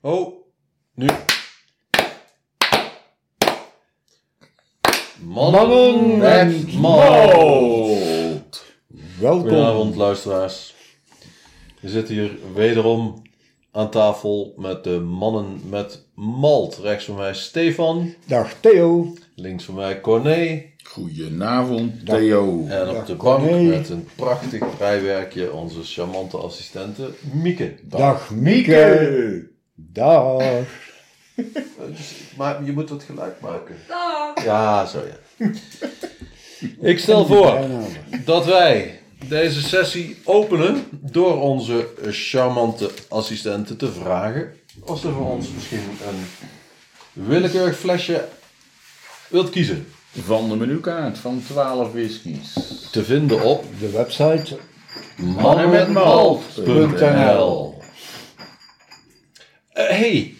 Oh, nu. Mannen met mout. Welkom. Goedenavond, luisteraars. We zitten hier wederom aan tafel met de mannen met malt. Rechts van mij Stefan, Dag Theo. links van mij Corné. Goedenavond, Theo. En op Dag, de bank Corné. met een prachtig vrijwerkje onze charmante assistente Mieke. Dag, Mieke. Dag. Maar je moet het geluid maken. Dag. Ja, zo ja. Ik stel voor Bijna. dat wij deze sessie openen door onze charmante assistenten te vragen of ze voor ons misschien een willekeurig flesje wilt kiezen. Van de menukaart van 12 whiskies. Te vinden op De website. mannenmetmalt.nl Eh, hey,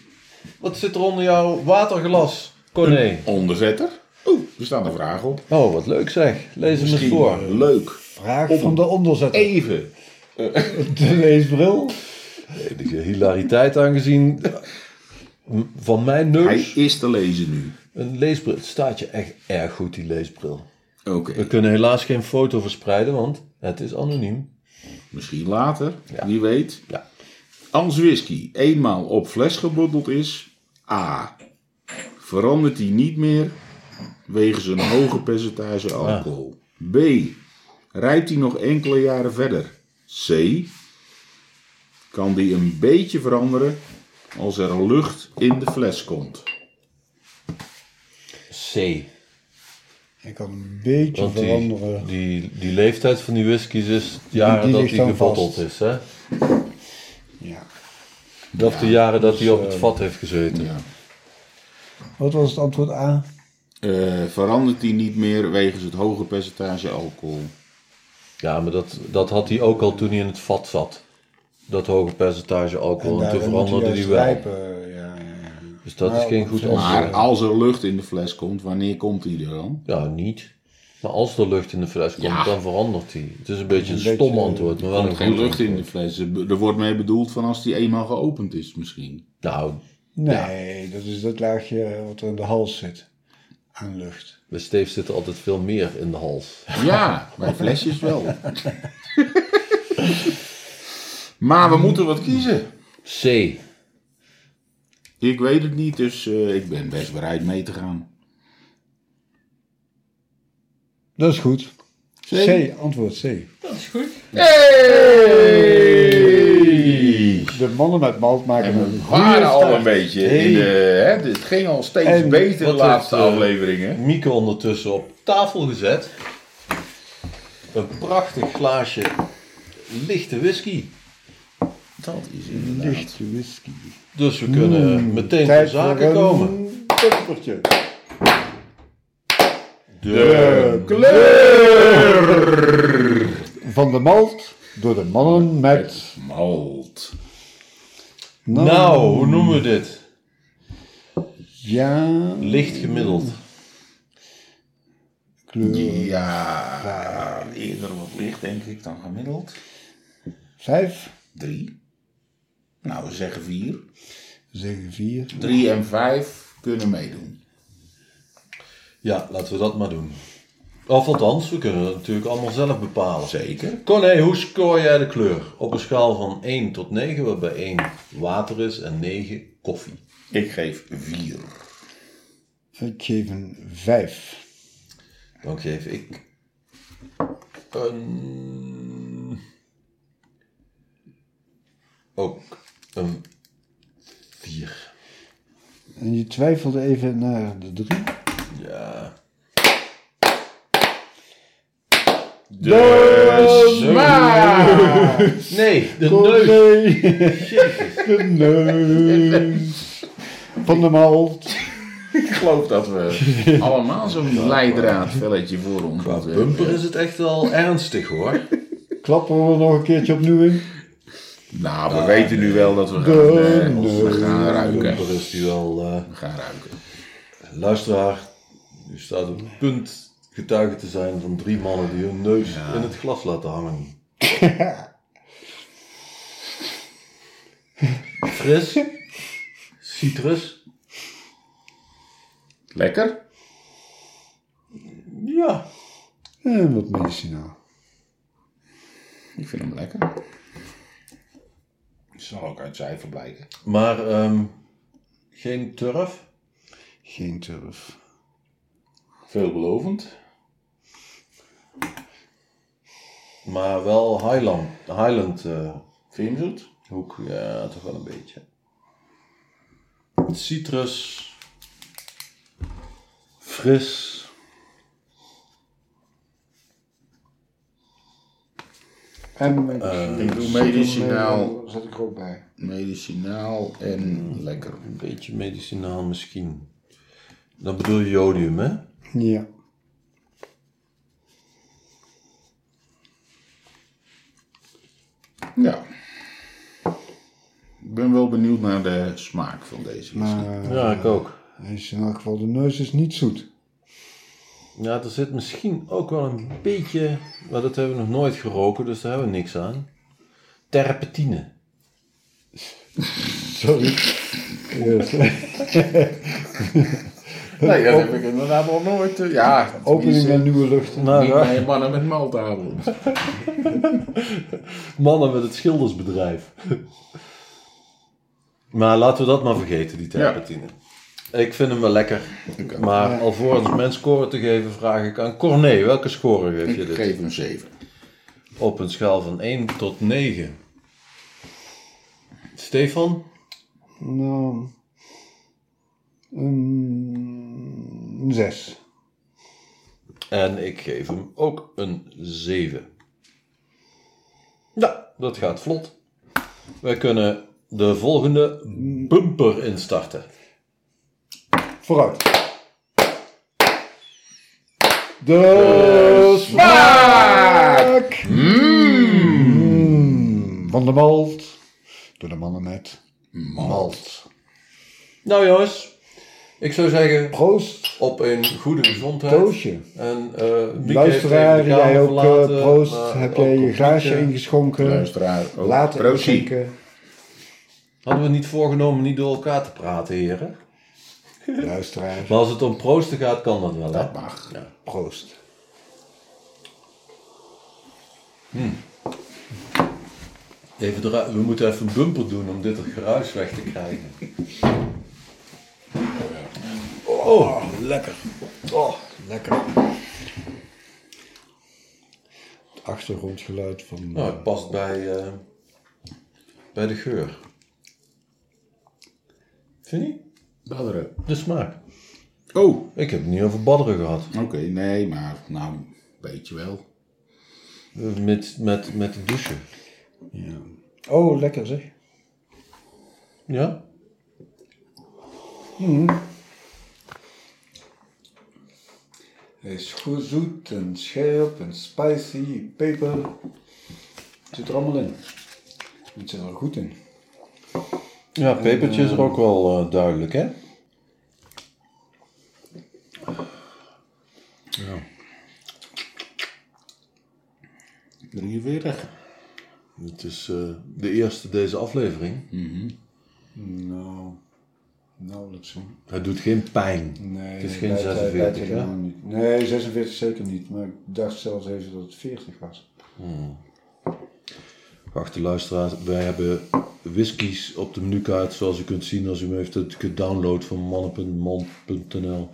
wat zit er onder jouw waterglas, Corné? Onderzetter. Oeh, er staat een vraag op. Oh, wat leuk zeg. Lees hem eens voor. leuk. eh, Vraag van de onderzetter. Even. De leesbril. enige hilariteit aangezien van mijn Hij neus. is te lezen nu. Een leesbril. Het staat je echt erg goed, die leesbril. Oké. We kunnen helaas geen foto verspreiden, want het is anoniem. Misschien later, wie weet. Ja. Als whisky eenmaal op fles gebotteld is, A. Verandert die niet meer wegens een hoge percentage alcohol. B. Rijpt die nog enkele jaren verder. C. Kan die een beetje veranderen als er lucht in de fles komt. C. Ik kan een beetje Want die, veranderen. die, die leeftijd van die whiskies is de jaren die dat ligt die dan gebotteld vast. is, hè? Ja. Of de jaren dus, dat eh, die op het vat heeft gezeten. Wat was het antwoord A? Eh, verandert die niet meer wegens het hoge percentage alcohol. Ja, maar dat, dat had hij ook al toen hij in het vat zat. Dat hoge percentage alcohol. En, daarin toen moet veranderde hij die juist wel. rijpen, Ja, ja, ja. Dus dat is Nou, geen goed zeg antwoord. Maar als er lucht in de fles komt, wanneer komt die er dan? Ja, niet. Maar als er lucht in de fles komt, Ja. dan verandert die. Het is een beetje een, Een beetje, eh, stom antwoord, maar wel een Er geen goed lucht in de antwoord. fles. Er wordt mee bedoeld van als die eenmaal geopend is misschien. Nou, Nee, dat is dat laagje wat er in de hals zit. Aan lucht. bij Steef zit er altijd veel meer in de hals. Ja, bij flesjes wel. maar we moeten wat kiezen. C. Ik weet het niet, dus eh, ik ben best bereid mee te gaan. Dat is goed. C, C. antwoord C. Dat is goed. Hey! De mannen met malt maken een We waren al een goede beetje. In de, hè, het ging al steeds En beter de wat laatste heeft, eh, afleveringen. Mieke ondertussen op tafel gezet. Een prachtig glaasje lichte whisky. Dat is lichte whisky. Dus we kunnen meteen ter Tijd voor zaken een komen. Eh, Tuppertje. Eh, De Van de malt door de mannen met... malt. Nou, hoe noemen we dit? Ja, Licht gemiddeld. kleur Ja, eerder wat licht denk ik dan gemiddeld. 5, Drie. Nou, we zeggen vier. zeggen 4. Drie en vijf kunnen meedoen. Ja, laten we dat maar doen. Of althans, we kunnen het natuurlijk allemaal zelf bepalen. Zeker. Corné, hoe scoor jij de kleur? Op een schaal van 1 tot 9, waarbij 1 water is en 9 koffie. Ik geef vier. Ik geef een 5. Dan geef ik een... Ook een 4. En je twijfelde even naar de 3. Ja. Dus Nee, de neus. Jezus. De neus. Van de malt. Ik geloof dat we allemaal zo'n leidraadvelletje voor ons Qua hebben. bumper is het echt wel ernstig hoor. Klappen we nog een keertje opnieuw in. Nou, we weten nu wel dat we gaan, De eh, of we gaan ruiken. Bumper is die wel... eh, We gaan ruiken. Luisteraar, u staat op het punt getuige te zijn van drie mannen die hun neus in het glas laten hangen. Fris? citrus. Lekker. Ja. Eh, wat medicinaal. Ik vind hem lekker. Het zal ook uit cijfer blijken. Maar ehm, geen turf. Geen turf. Veelbelovend. Maar wel Highland, Highland eh, Vind je hem zoet? hoek. Ja, toch wel een beetje. Citrus. Fris. En medicinaal. ik doe medicinaal. Daar zat ik er ook bij. Medicinaal en lekker. Een beetje medicinaal misschien. Dan bedoel je jodium, hè? Ja. Ja. Ik ben wel benieuwd naar de smaak van deze whisky. Maar eh, Ja, ik ook. hij is in elk geval, de neus is niet zoet. Ja, er zit misschien ook wel een beetje, maar dat hebben we nog nooit geroken, dus daar hebben we niks aan. Terpentine. Sorry. Yes. Nee, dat heb ik inderdaad nog nooit. eh, Ja, Opening tenminste, naar nieuwe luchten. Nou, niet ja. bij mannen met maaltafels. Mannen met het schildersbedrijf. maar laten we dat maar vergeten, die terpentine. Ik vind hem wel lekker. Maar alvorens mijn score te geven, vraag ik aan Corné. Welke score geef je Ik dit? geef hem 7. Op een schaal van 1 tot 9. Stefan? Nou, een zes. En ik geef hem ook een 7. Nou, dat gaat vlot. We kunnen de volgende bumper instarten. Vooruit. De smaak! Mm. Van de malt. Door de mannen met malt. Nou jongens, ik zou zeggen Proost, op een goede gezondheid. Toosje. En, eh, Mieke heeft Luisteraar, even de kamer jij ook eh, verlaten, proost. maar Heb ook jij je Mieke. glaasje ingeschonken? Luisteraar ook. Later Proosie. inschenken. Hadden we niet voorgenomen niet door elkaar te praten, heren. Luisteraar, Maar als het om proosten gaat, kan dat wel. Hè? Dat mag. proost. Even eruit- we moeten even een bumper doen om dit geruis weg te krijgen. Oh, lekker. Oh, lekker. Het achtergrondgeluid van... Nou, het past bij, eh, bij de geur. Vind je? Badderen. De smaak. Oh, oké. Ik heb het niet over badderen gehad. nee, maar nou, weet je wel. Met, met, met de douche. Ja. Oh, lekker zeg. Ja? Hij is goed zoet en scherp en spicy, peper. Het zit er allemaal in. Het zit er goed in. Ja, pepertje is er ook wel eh, duidelijk, hè? Drink je weer weg. Het is eh, de eerste deze aflevering. Nou, nauwelijks hoor. Het doet geen pijn. Nee, Het is geen bijt- bijt 46, hè? helemaal niet. Nee, 46 zeker niet. Maar ik dacht zelfs even dat het 40 was. Geachte luisteraars, wij hebben whiskies op de menukaart, zoals u kunt zien als u hem heeft het gedownload van mannen.malt.nl.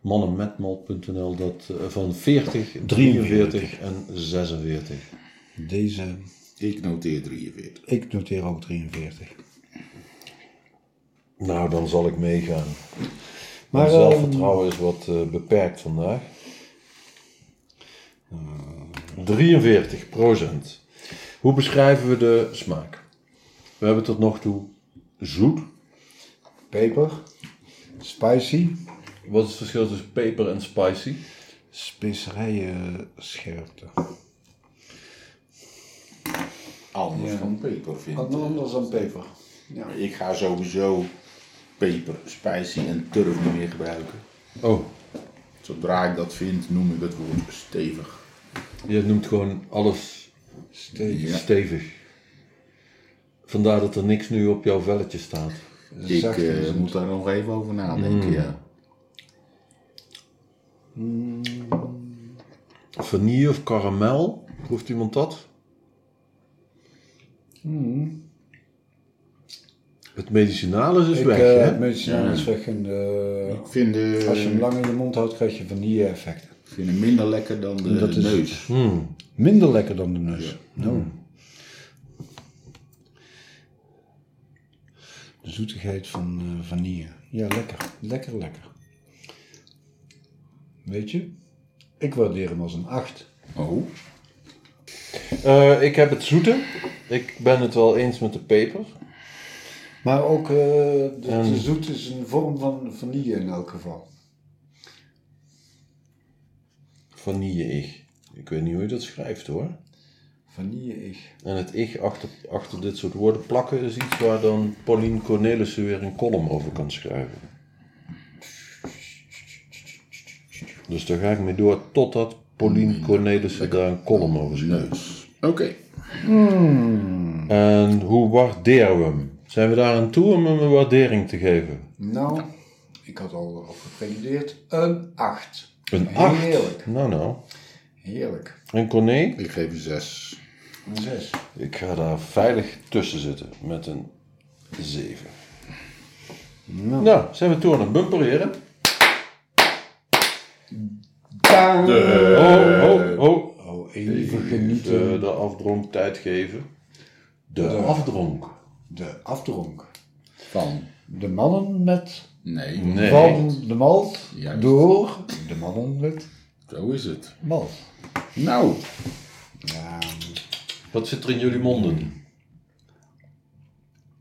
Mannenmetmalt.nl, dat eh, van 40, 43 en 46. Deze, Ik noteer 43. ik noteer ook 43. Nou, dan zal ik meegaan. Maar, Mijn ehm, zelfvertrouwen is wat eh, beperkt vandaag. 43 procent. Hoe beschrijven we de smaak? We hebben tot nog toe zoet. Peper, spicy, Wat is het verschil tussen peper en spicy? specerijen scherpte. Anders dan peper vind ik. Anders dan peper. Ja. Ik ga sowieso peper, spicy en turf niet meer gebruiken. Oh, Zodra ik dat vind, noem ik het woord stevig. je noemt gewoon alles Steek. Ja. stevig. Vandaar dat er niks nu op jouw velletje staat. Ik Zacht eh, is het. moet daar nog even over nadenken, Hmm. ja. Vanille of karamel? Proeft iemand dat? Het medicinale is dus Hmm. Ik, weg, eh, hè? medicinaal is weg en eh, Ik vind, eh, als je hem lang in je mond houdt, krijg je vanille-effecten. ik vind hem minder lekker dan de Dat is- neus. Hmm. Minder lekker dan de neus. Nou. De zoetigheid van eh, vanille. Ja, lekker. Lekker, lekker. Weet je, ik waardeer hem als een 8. Oh, Eh, ik heb het zoete. Ik ben het wel eens met de peper. Maar ook eh, de, En- de zoet is een vorm van vanille in elk geval. Vanille-ig. Ik weet niet hoe je dat schrijft, hoor. Vanille-ig. En het ik achter, achter dit soort woorden plakken is iets waar dan Pauline Cornelissen weer een column over kan schrijven. Dus daar ga ik mee door totdat Pauline Cornelissen daar een column over schrijft. oké. En hoe waarderen we hem? Zijn we daar aan toe om hem een waardering te geven? Nou, ik had al op gepretendeerd. Een 8. Een 8? Heerlijk. Nou, nou. Heerlijk. En Corné? Ik geef een zes. Een 6. Ik ga daar veilig tussen zitten met een 7. Nou, zijn we toe aan het bumpereren. Oh, oh, oh. Oh, even genieten. De, de afdronk tijd geven. De afdronk. De afdronk. Van? De mannen met Nee. Nee. van de malt Juist. door de mannen met Zo is het. malt. Nou, Ja, Wat zit er in jullie monden?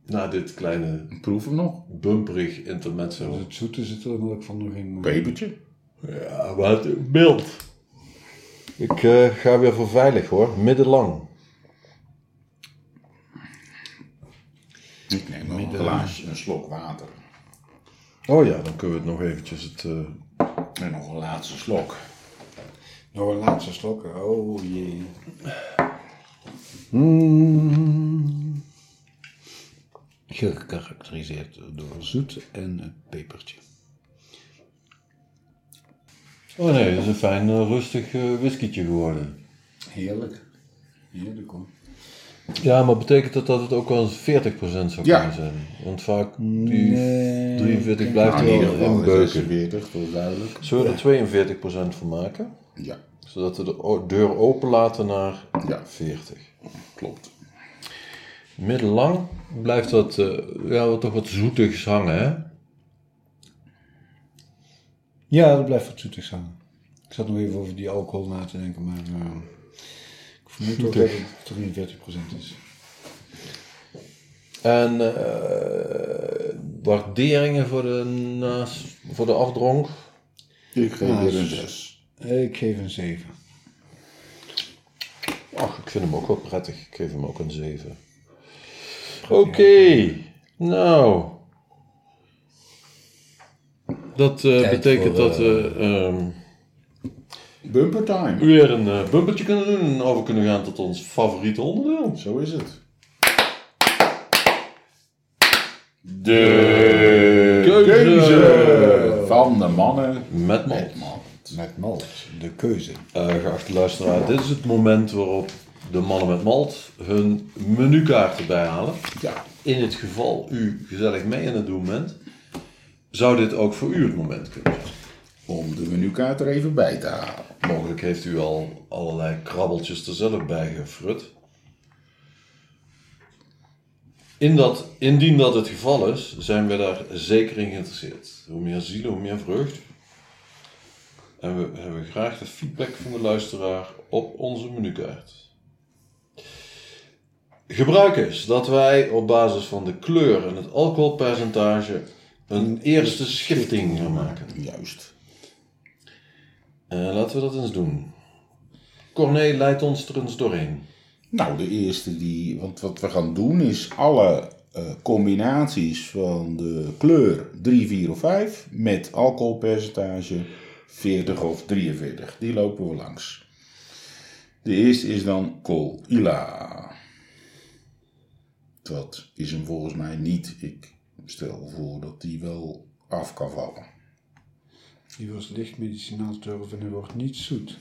Na dit kleine proef hem nog. bumperig intermezzo. het zoete zit er namelijk van nog in. Pepertje. Ja, maar het beeld. Ik eh, ga weer voor veilig hoor, middenlang. Ik neem nog een glaasje, een slok water. Oh ja, dan kunnen we het nog eventjes het... eh, En nog een laatste slok. Nog een laatste slok. Oh jee. Hmm. Gekarakteriseerd door zoet en een pepertje. Oh nee, dat is een fijn eh, rustig eh whiskytje geworden. Heerlijk. Heerlijk hoor. Ja, maar betekent dat dat het ook wel eens 40% zou kunnen Ja. zijn? Want vaak die Nee. 43 blijft Nou, er in wel ieder geval in is beuken. 46, dat is duidelijk. Zullen we er 42% van maken? Ja, Zodat we de o- deur open laten naar Ja. 40. klopt. Middellang blijft dat eh, ja, toch wat zoetigs hangen, hè? Ja, dat blijft wat zoetigs hangen. Ik zat nog even over die alcohol na te denken, maar eh, ik vermoed ook dat het 43% is. En eh, waarderingen voor de, naast, voor de afdronk? Ik geef Ja, weer een zes. 6. Ik geef een 7. Ach, ik vind hem ook wel prettig. Ik geef hem ook een 7. Oké, nou. Dat eh, Tijd betekent voor, eh, dat we ehm, Bumper time. weer een eh, bumpertje kunnen doen en over kunnen gaan tot ons favoriete onderdeel. Zo is het. De, keuze. keuze. van de mannen. Met malt. Met malt. Met malt, de keuze. Eh, geachte luisteraar, dit is het moment waarop de mannen met malt hun menukaarten bijhalen. Ja, In het geval u gezellig mee aan het doen bent, zou dit ook voor u het moment kunnen zijn. om de menukaart er even bij te halen. Mogelijk heeft u al allerlei krabbeltjes er zelf bij gefrut. In dat, indien dat het geval is, zijn we daar zeker in geïnteresseerd. Hoe meer zielen, hoe meer vreugd. En we hebben graag de feedback van de luisteraar op onze menukaart. Gebruik is dat wij op basis van de kleur en het alcoholpercentage een eerste schifting gaan maken. Juist. Eh, laten we dat eens doen. Corné leidt ons er eens doorheen. Nou, de eerste die. Want wat we gaan doen is alle eh, combinaties van de kleur 3, 4 of 5 met alcoholpercentage 40 of 43. Die lopen we langs. De eerste is dan Colila. Dat is hem volgens mij niet. Ik Stel voor dat die wel af kan vallen. Die was licht medicinaal turf en hij wordt niet zoet.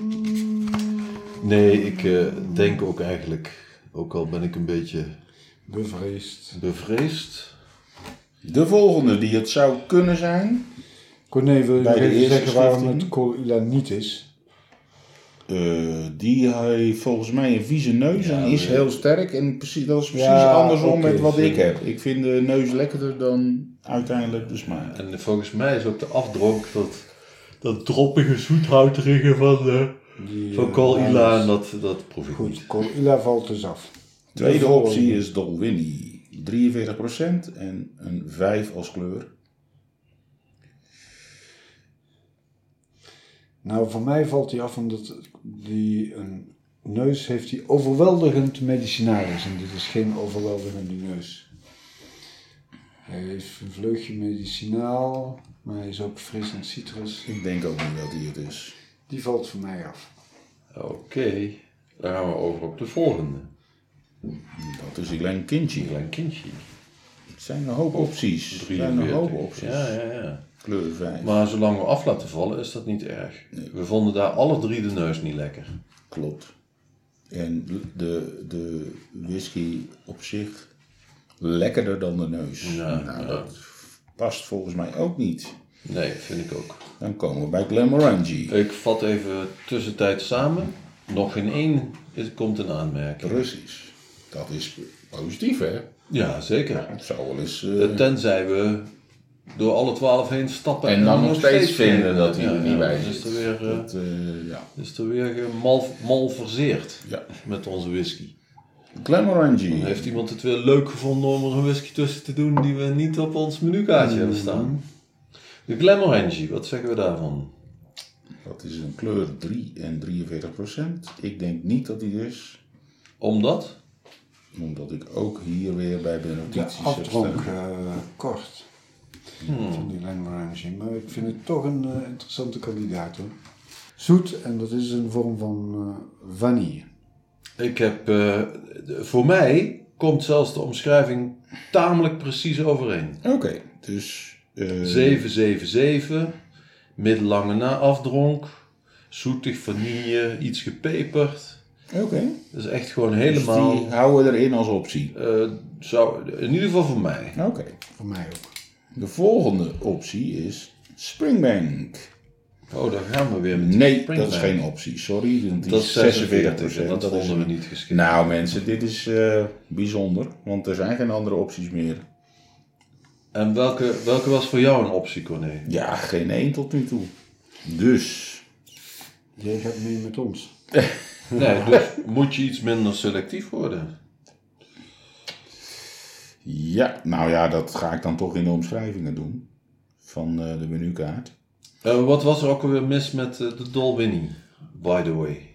Mm, Nee, ik eh, denk ook eigenlijk, ook al ben ik een beetje bevreesd. bevreesd. De volgende die het zou kunnen zijn. Corné, wil je Bij nog de even eerste zeggen waarom schrifting? het Colila niet is? eh, die heeft volgens mij een vieze neus en is heel sterk. En precies, dat is precies Ja, andersom oké, met wat sorry. ik heb. Ik vind de neus lekkerder dan uiteindelijk de smaak. En volgens mij is ook de afdronk dat, dat droppige zoethouterige van, de Die, van eh, Col Linus. Ilaan, dat, dat proef ik niet. Goed, Colila valt dus af. Tweede De optie volgende. is Dolwini. 43% en een 5 als kleur. Nou, voor mij valt die af omdat die een neus heeft die overweldigend medicinaris. En dit is geen overweldigende neus. Hij heeft een vleugje medicinaal, maar hij is ook fris en citrus. Ik denk ook niet dat die het is. Die valt voor mij af. Oké, dan gaan we over op de volgende. Dat is een kindje. Een klein kindje. Het zijn een hoop opties. Het zijn een hoop 43. opties. Ja, ja, ja. Kleur 5. Maar zolang we af laten vallen is dat niet erg. We vonden daar alle drie de neus niet lekker. Klopt. En de, de whisky op zich lekkerder dan de neus. Ja, nou, ja. dat past volgens mij ook niet. Nee, vind ik ook. Dan komen we bij Glamorangi. Ik vat even tussentijd samen. Nog geen één is- komt een aanmerking. Russisch. Dat is positief, hè? Ja, zeker. Het zou wel eens... eh, Tenzij we door alle twaalf heen stappen en dan nog steeds vinden dat hij ja, er niet ja, bij dan Is zit. er weer, eh, Dat, eh, ja. is er weer gemal- malverseerd ja. met onze whisky. Glamorangi. Heeft iemand het weer leuk gevonden om er een whisky tussen te doen die we niet op ons menukaartje hebben Mm. staan? De Glamorangie, wat zeggen we daarvan? Dat is een kleur 3 en 43 procent. Ik denk niet dat die is. Omdat? Omdat ik ook hier weer bij de De notities heb afdronk staan. eh, kort van die Langorange. Maar ik vind het toch een eh, interessante kandidaat hoor. Zoet en dat is een vorm van eh, vanille. Ik heb, eh, de- voor mij komt zelfs de omschrijving tamelijk precies overeen. Oké, dus... eh, 777, middellange na afdronk, zoetig vanille, iets gepeperd. Oké. Dat is echt gewoon Dus helemaal, die houden we erin als optie. eh, zou, in ieder geval voor mij. Oké. Voor mij ook. De volgende optie is Springbank. Oh, daar gaan we weer met die Nee, dat Springbank. is geen optie. Sorry, want die Dat is is 46 46 en dat is vonden we een- niet geschikt. Nou mensen, dit is eh, bijzonder, want er zijn geen andere opties meer. En welke, welke was voor jou een optie, Corné? Ja, geen één tot nu toe. Dus, Jij gaat mee met ons. Nee, dus moet je iets minder selectief worden. ja, nou ja, dat ga ik dan toch in de omschrijvingen doen van eh, de menukaart. Eh, wat was er ook alweer mis met eh, de Dolwinnie, by the way?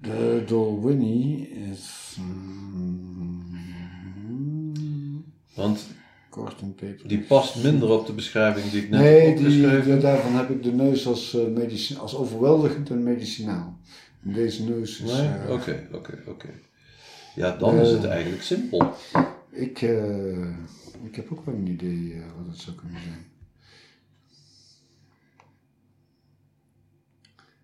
De Dolwinnie is mm, Want kort en peper. die past minder op de beschrijving die ik net nee, heb die, opgeschreven. die- daarvan heb ik de neus als, eh, medici- als overweldigend en medicinaal. En deze neus is... Nee? eh, Oké, oké, oké. Ja, dan is het eigenlijk simpel. ik, eh, ik heb ook wel een idee eh, wat het zou kunnen zijn.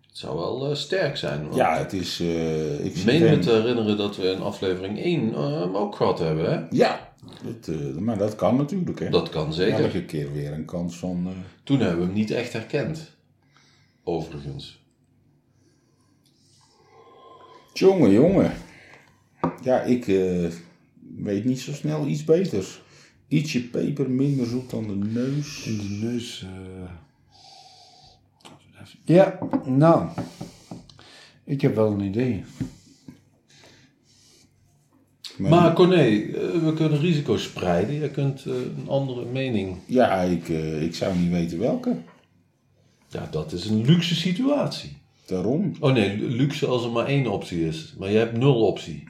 Het zou wel eh, sterk zijn. want Ja, het is... eh ik Ik zie meen geen- me te herinneren dat we in aflevering 1 hem ook gehad hebben, hè? Ja, dat, eh, maar dat kan natuurlijk hè. Dat kan zeker. Elke keer weer een kans van... eh, Toen hebben we hem niet echt herkend. Overigens. Jongen, jongen. Ja, ik eh, weet niet zo snel iets beters. Ietsje peper, minder zoet dan de neus. De neus... eh, ja, nou. Ik heb wel een idee. Maar Corné, eh, we kunnen risico's spreiden. Je kunt eh, een andere mening. Ja, ik, eh, ik zou niet weten welke. Ja, dat is een luxe situatie. Daarom. Oh nee, lu- luxe als er maar één optie is. Maar je hebt nul optie.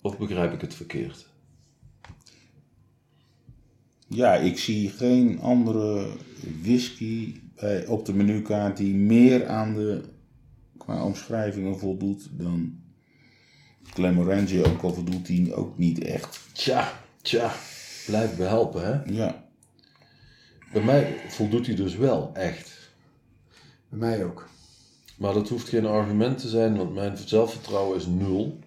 Of begrijp ik het verkeerd? Ja, ik zie geen andere whisky bij- op de menukaart die meer aan de qua omschrijvingen voldoet dan Clemorantje, ook al voldoet hij ook niet echt. Tja, tja. Blijf me helpen, hè. Ja. Bij mij voldoet hij dus wel, echt. Bij mij ook. Maar dat hoeft geen argument te zijn, want mijn zelfvertrouwen is nul.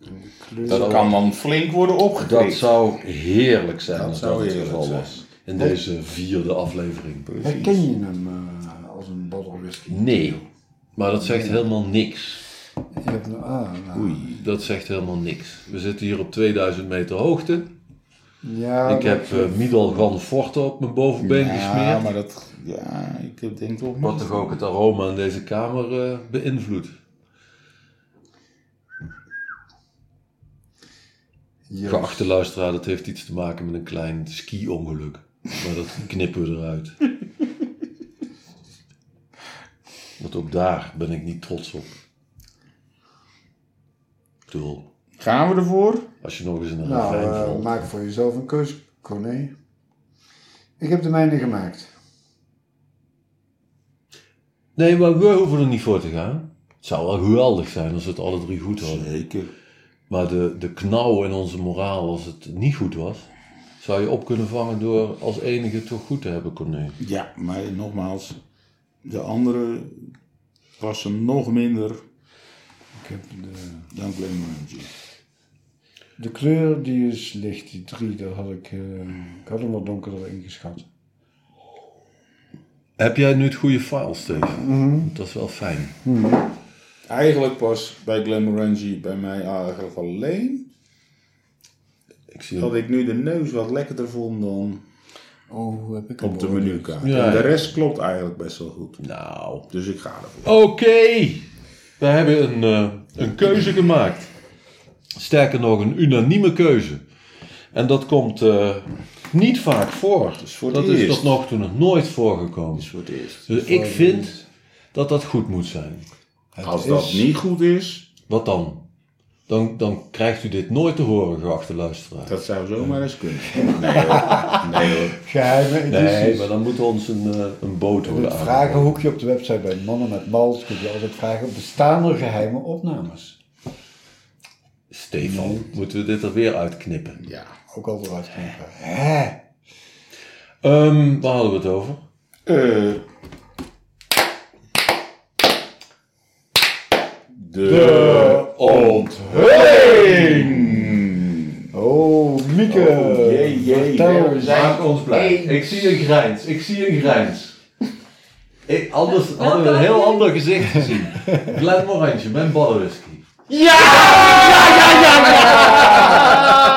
En de kleur... Dat Dat kan dan flink worden opgekrikt. Dat zou heerlijk zijn als zou dat het heerlijk geval zijn. was. In deze vierde aflevering. Herken je hem eh, als een bottle whisky? Nee, maar dat zegt helemaal niks. Je hebt nou, ah, nou. Oei. Dat zegt helemaal niks. We zitten hier op 2000 meter hoogte. Ja, Ik heb eh Midal Gran Forte op mijn bovenbeen Ja, gesmeerd. maar dat... Ja, ik heb denk toch Wat niet. toch ook het aroma in deze kamer eh, beïnvloedt. eh, Yes. Geachte luisteraar, dat heeft iets te maken met een klein ski-ongeluk. Maar dat knippen we eruit. Want ook daar ben ik niet trots op. Ik bedoel, Gaan we ervoor? als je nog eens in een Nou, ravijn eh, valt. maak voor jezelf een keuze, Corné. Ik heb de mijne gemaakt. Nee, maar we hoeven er niet voor te gaan. Het zou wel geweldig zijn als we het alle drie goed hadden. Zeker. Maar de, de knauw in onze moraal als het niet goed was, zou je op kunnen vangen door als enige toch goed te hebben, Corné. Ja, maar nogmaals, de andere was er nog minder Ik heb de, dan Clemorantje. de kleur die is licht, die drie, daar had ik, eh, ik had hem wat donkerder ingeschat. Heb jij nu het goede file, Steven? Mhm. Dat is wel fijn. Eigenlijk pas bij Glenmorangie, bij mij eigenlijk alleen, Ik zie dat ik nu de neus wat lekkerder vond dan Oh, hoe heb ik hem op de beoordeeld? menukaart. Ja, En de ja. rest klopt eigenlijk best wel goed. Nou. Dus ik ga ervoor. Oké, we hebben een, eh, een keuze gemaakt. Sterker nog, een unanieme keuze. En dat komt eh, niet vaak voor. is voor het dat is eerst. tot nog toe nog nooit voorgekomen. voor het eerst. Dus ik vind dat dat goed moet zijn. Als dat is- niet goed is, Wat dan? Dan, dan krijgt u dit nooit te horen, geachte luisteraar. dat zou zomaar eens kunnen. Nee hoor. Nee hoor. Geheime edities. Nee, maar dan moet ons een, eh, een boot In worden het vragenhoekje op de website bij Mannen met Malt kun je altijd vragen: bestaan er geheime opnames? aangeboden. Stefan, moeten we dit er weer uitknippen? Ja. Ook al eruit knippen. Hè? Ehm, waar hadden we het over? Eh, de, onthulling. Oh, Mieke! Oh, jee, jee, vertel nee, we eens. zijn- Maak ons blij. Ik zie een grijns. Ik zie een grijns. Ik, anders hadden we een heel ander gezicht gezien. Glenn Morantje, mijn ballenwhisky. Ja! Ja, ja, ja, ja!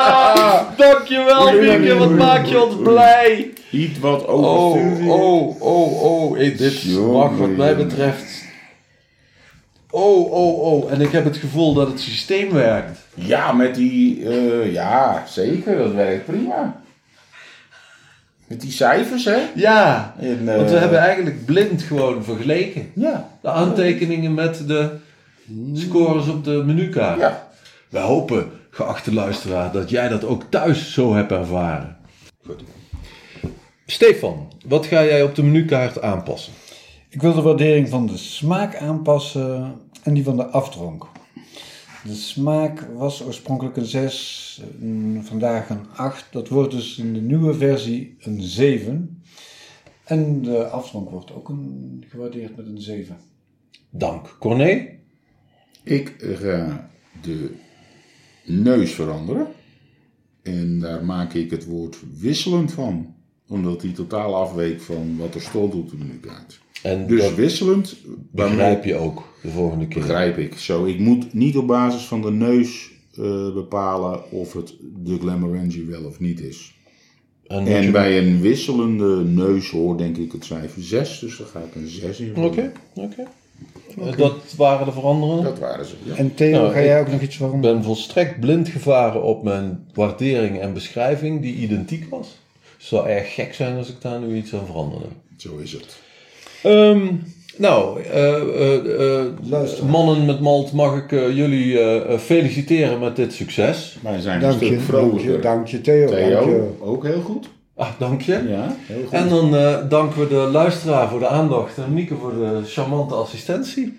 Dankjewel, Mieke. Wat maak je ons blij. Iets wat Oh, overstuurd. oh, oh, oh. eh, dit mag wat mij betreft... Oh, oh, oh. En ik heb het gevoel dat het systeem werkt. Ja, met die... eh, ja, zeker. Dat werkt prima. Met die cijfers, hè? Ja. En, eh, Want we hebben eigenlijk blind gewoon vergeleken. Ja. De aantekeningen met de scores op de menukaart. Ja. We hopen, geachte luisteraar, dat jij dat ook thuis zo hebt ervaren. Goed. Stefan, wat ga jij op de menukaart aanpassen? Ik wil de waardering van de smaak aanpassen en die van de afdronk. De smaak was oorspronkelijk een 6, een- vandaag een 8. Dat wordt dus in de nieuwe versie een 7. En de afdronk wordt ook een, gewaardeerd met een 7. Dank. Corné? Ik ga de neus veranderen. En daar maak ik het woord wisselend van. Omdat die totaal afweek van wat er stond op de menukaart. En Dus dat wisselend, waarmee begrijp je ook de volgende keer. begrijp ik zo. Ik moet niet op basis van de neus eh, bepalen of het de Glamorangie wel of niet is. En moet En je- bij een wisselende neus hoor denk ik het cijfer 6. Dus daar ga ik een 6 in Oké, vullen. oké. Eh, Dat waren de veranderingen. Dat waren ze. Ja. En Theo, Nou, ga ik- jij ook nog iets waarom? Ik ben volstrekt blind gevaren op mijn waardering en beschrijving die identiek was. Het zou erg gek zijn als ik daar nu iets aan veranderde. Zo is het. Ehm, nou, eh, eh, eh, Luister. mannen met malt, mag ik eh, jullie eh, eh, feliciteren met dit succes. Wij zijn Dank een je, stuk dank je, vrolijker. dank je Theo. Dank je. Theo, ook heel goed. Ah, dank je. Ja, heel goed. En dan eh, danken we de luisteraar voor de aandacht en Mieke voor de charmante assistentie.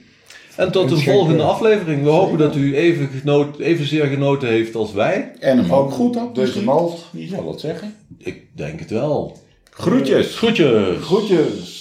En tot de Een volgende gekke- aflevering. We hopen dat u even genoten, evenzeer genoten heeft als wij. En hem ook goed had. Dus de misschien. malt. Wie zal het zeggen? Eh, Ik denk het wel. Groetjes! Groetjes! Groetjes.